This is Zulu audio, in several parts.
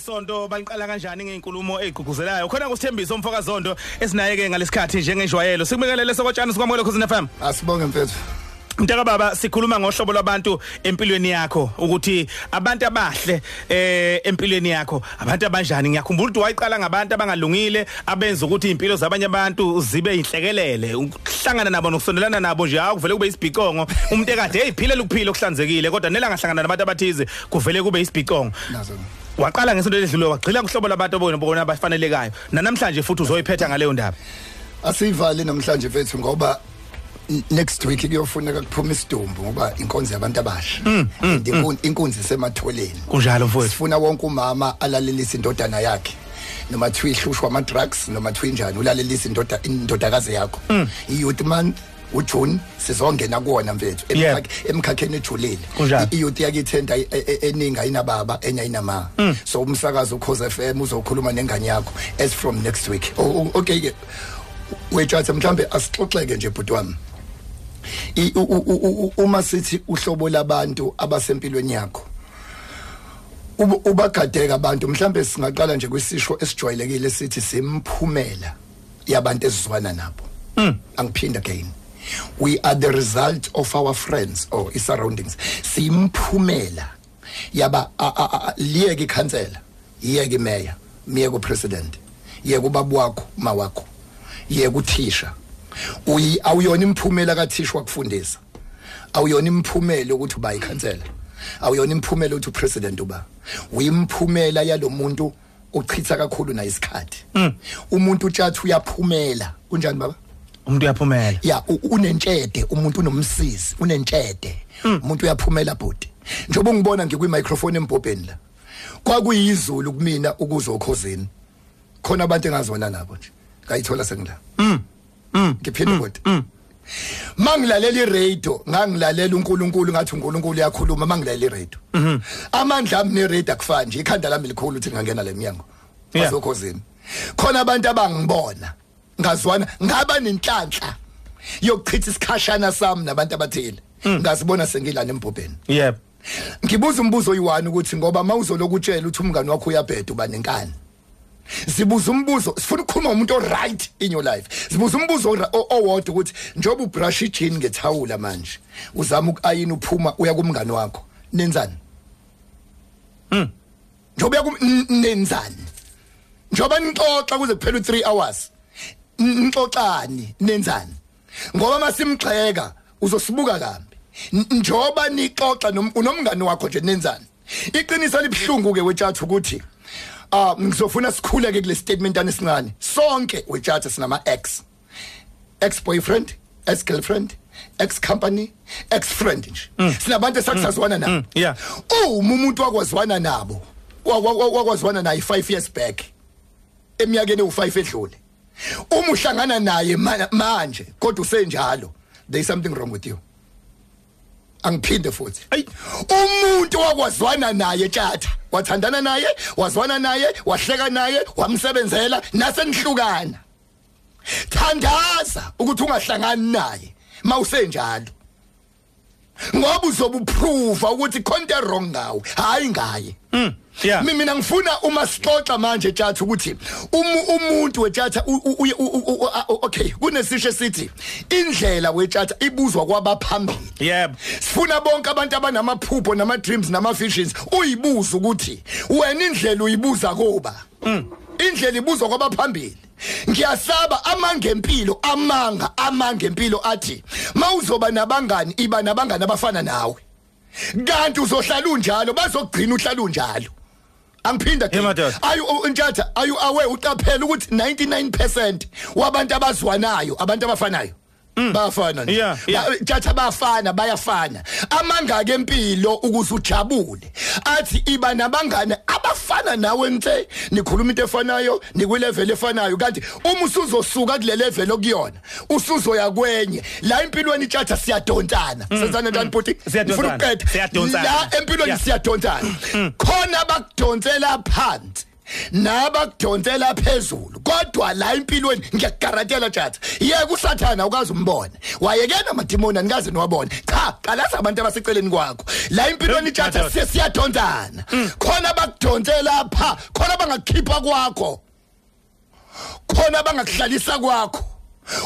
isonto baliqala kanjani ngeenkulumo ezigqugquzelayo khona kusithembiso umfokazondo esinaye-ke ngalesi njengenjwayelo sikubingelele sokotshani sikwamukele khuzini fm Asibonge mfethu. mntaka baba sikhuluma ngohlobo lwabantu empilweni yakho ukuthi abantu abahle eh empilweni yakho abantu abanjani ngiyakhumbula ukuthi wayiqala ngabantu abangalungile abenza ukuthi impilo zabanye abantu zibe inhlekelele ukuhlangana nabo nokusondelana nabo nje hawo kuvele kube isibhicongo umuntu ekade eyiphile ukuphila okuhlanzekile kodwa nela ngahlangana nabantu abathize kuvele kube isibhicongo Nazo. waqala ngesinto edlule wagxila kuhlobo labantu obona bona abafanelekayo nanamhlanje futhi uzoyiphetha ngaleyo ndaba Asivali namhlanje mfethu ngoba i- next week kuyofuneka kuphuma isidumbu ngoba inkonzo yabantu abasha. And inkun- inkunzi isematholeni. kunjalo mfowethu Sifuna wonke umama alalelise indodana yakhe. noma thiwa ihlushwa ama drugs noma thiwa njani ulalelise indoda indodakazi Mm. yakho iyouth month uJune sizongena kuona mfethu Yeah. Emkhak- emkhakheni ejulile Kunjalo. I- iyouth yakithenda e- e- e- eningi ayinababa enye ayinamama Mm. so umsakazo ukhoze FM uzokhuluma nengane yakho as from next week O- o- okay ke wetshathe mhlambe asixoxeke nje bhuti wami I- u- u- u- u- uma sithi uhlobo labantu abasempilweni yakho ub- ubagadeka abantu mhlambe singaqala nje kwisisho esijwayelekile sithi simphumela yabantu esizwana nabo angiphinde again we are the result of our friends or i surroundings simphumela yaba a- a- a- liyeke ikhansela yiyeke imeya miyeke upresident yeke ubaba wakho ma wakho yeke uthisha uyi awuyona imphumela kathisha wakufundisa awuyona imphumela ukuthi uba ikhansela awuyona imphumela ukuthi upresident uba uyimphumela yalomuntu ochitha kakhulu naye isikhathi umuntu utshathu uyaphumela kunjani baba umuntu uyaphumela ya u- unentshede umuntu unomsisi unentshede umuntu uyaphumela bhuti njengoba ungibona ngikwi microphone embhobheni la kwakuyizulu kumina ukuzokhozini khona abantu engazona nabo nje ngayithola sengila ngiphinde bhuti mangilalela iradio ngangilalela uNkulunkulu ngathi uNkulunkulu uyakhuluma mangilalela iradio amandla ami neradio akufani nje ikhanda lami likhulu ukuthi ngingena leminyango Yeah. azokhozini khona abantu abangibona ngazwana ngaba nenhlanhla yokuchitha isikhashana sami nabantu abathile ngazibona sengilana embhobheni yebo ngibuza umbuzo oyi-1 ukuthi ngoba mawuzoloku utshela ukuthi umngani wakho uyabheda uba nenkani sibuza umbuzo sifuna ukukhuluma ngomuntu oright in your life sibuza umbuzo ora- o- owodwa ukuthi njengoba ubrush ijini ngethawula manje uzama uku-ayini uphuma uya kumngani wakho nenzani njengoba uya kum- n- nenzani njengoba nixoxa kuze kuphela u3 hours n- nixoxani nenzani ngoba masimgxeka uzosibuka kambi N- njengoba nixoxa nom- unomngani wakho nje nenzani iqiniso libhlungu ke wetshathu ukuthi ah ngizofuna sikhuleke kule statement anesincane sonke wetshathu sinama ex ex-boyfriend ex-girlfriend ex-company ex-friend nje sinabantu esakusazwana nabo yeah. uma umuntu wakwazwana nabo wa- wa- wa- wakwazwana naye 5 years back eminyakeni u5 edlule uma uhlangana naye ma- manje kodwa usenjalo there is something wrong with you angiphinde futhi Ayi. umuntu wakwazwana naye tjatha wathandana naye wazwana naye wahleka naye wamsebenzela nasenihlukana thandaza ukuthi ungahlangani naye mawusenjalo ngoba uzobuprova ukuthi konke wrong ngawe hayi ngaye yeah Mi- mina ngifuna uma sixoxa manje tjatha ukuthi umu- umuntu wetjatha u- u- uye- u- u- u- a- o- okay kunesisho esithi indlela wetjatha ibuzwa kwabaphambili yebo sifuna bonke abantu abanamaphupho nama dreams nama visions uyibuza ukuthi wena indlela uyibuza kuba indlela ibuzwa kwabaphambili ngiyasaba amangempilo amanga amangempilo athi mawuzoba nabangani iba nabangani abafana nawe kanti uzohlala unjalo bazogcina uhlala unjalo angiphinda Hey, madoda. ayu untshatha ayu aware uqaphela ukuthi 99% wabantu abazwanayo abantu abafanayo bayafana nje Mm. Yeah, yeah. Ba- tjatha bafana bayafana amanga ke empilo ukuze ujabule athi iba nabangane abafana nawe nte nikhuluma into efanayo nikwi level efanayo kanti uma usuzosuka kule level okuyona usuzoya kwenye la empilweni tjatha siyadontana Mm, senzana njani buti Siyadonsana. Ngifuna ukuqeda. Siyadonsana. la empilweni Yeah. siyadontana khona bakudonsela phansi nabakudonsela phezulu kodwa la empilweni ngiyakugarantela tjata yeke usathana ukaze umbone wayekena amadimoni anikaze niwabone cha qalaza abantu abaseceleni kwakho la empilweni tjata sesiyadonsana khona bakudonsela pha khona bangakukhipha kwakho khona bangakuhlalisa kwakho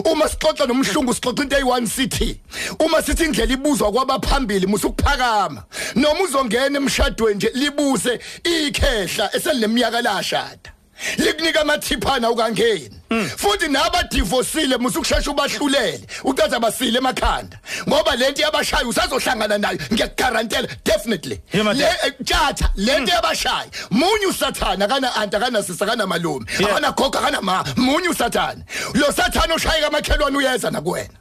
uma sixoxa nomhlungu sixoxa into eyi-1 sithi uma sithi indlela ibuzwa kwabaphambili musukuphakama noma uzongena emshadweni nje libuse ikhehla eselineminyaka lashada likunika amathiphana ukangeni futhi nabadivosile musukushesha ubahlulele ucaza basile emakhanda ngoba lento yabashayo usazohlangana nayo ngiyakugarantela definitely Yeah, madam. Eh, le tjatha Hmm. lento yabashayi munye usathana kana anta kana sisa kana malume Yeah. akana goga kana ma munye usathana lo sathana ushayeka amakhelwane uyeza nakuwena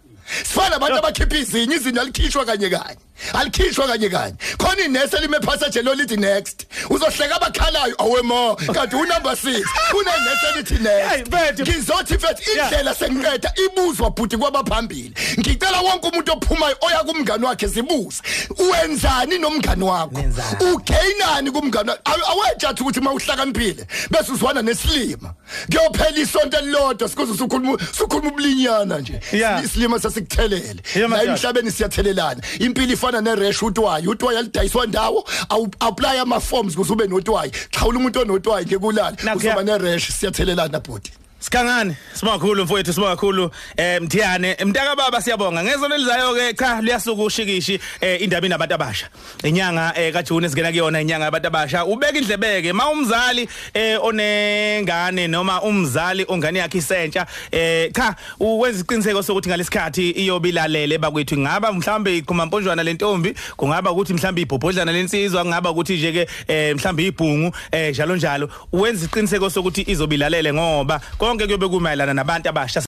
sifana abantu abakhipha izinyo izinyo alikhishwa kanye kanye alikhishwa kanye kanye khona inesi elime passage lo lithi next uzohleka abakhalayo awemo kanti unumber 6 unenesi elithi Hey, Bethu. next ngizothi mfethu Yeah. indlela sengiqeda ibuzwa bhuti kwabaphambili ngicela wonke umuntu ophumayo oya kumngani wakhe zibuze wenzani nomngani wakho Nenzani? ugainani kumngani wakho Aw- awetshathi ukuthi uma uhlakaniphile bese uzwana nesilima kuyophela isonto elilodwa sikuze usukhuluma usukhuluma ubulinyana nje Yeah. isilima sasikuthelele Yeah, la madodana. emhlabeni siyathelelana impilo ifana neresh utwayi utwayi alidayiswa ndawo awu-aplaya ama-forms kuze ube notwayi xhawula umuntu onotwayi nje kulala Nakhu ya- uzoba neresh siyathelelana bhuti Sikangani sibakhulu mfowethu sibakhulu eh Mthiyane mntaka baba siyabonga ngezolo elizayo ke cha liyasukushikishi eh indaba inabantu abasha inyanga eh kaJune singena kuyona inyanga yabantu abasha ubeka indlebeke ma umzali eh onengane noma umzali ongane yakhe isentsha eh cha uwenza iqiniseko sokuthi ngalesikhathi iyobilalele bakwethu ngaba mhlambe iqhuma mponjwana lentombi kungaba ukuthi mhlambe ibhobhodlana lensizwa kungaba ukuthi nje ke eh mhlambe ibhungu eh njalo njalo wenza iqiniseko sokuthi izobilalele ngoba konke kuyobe kumayelana nabantu abasha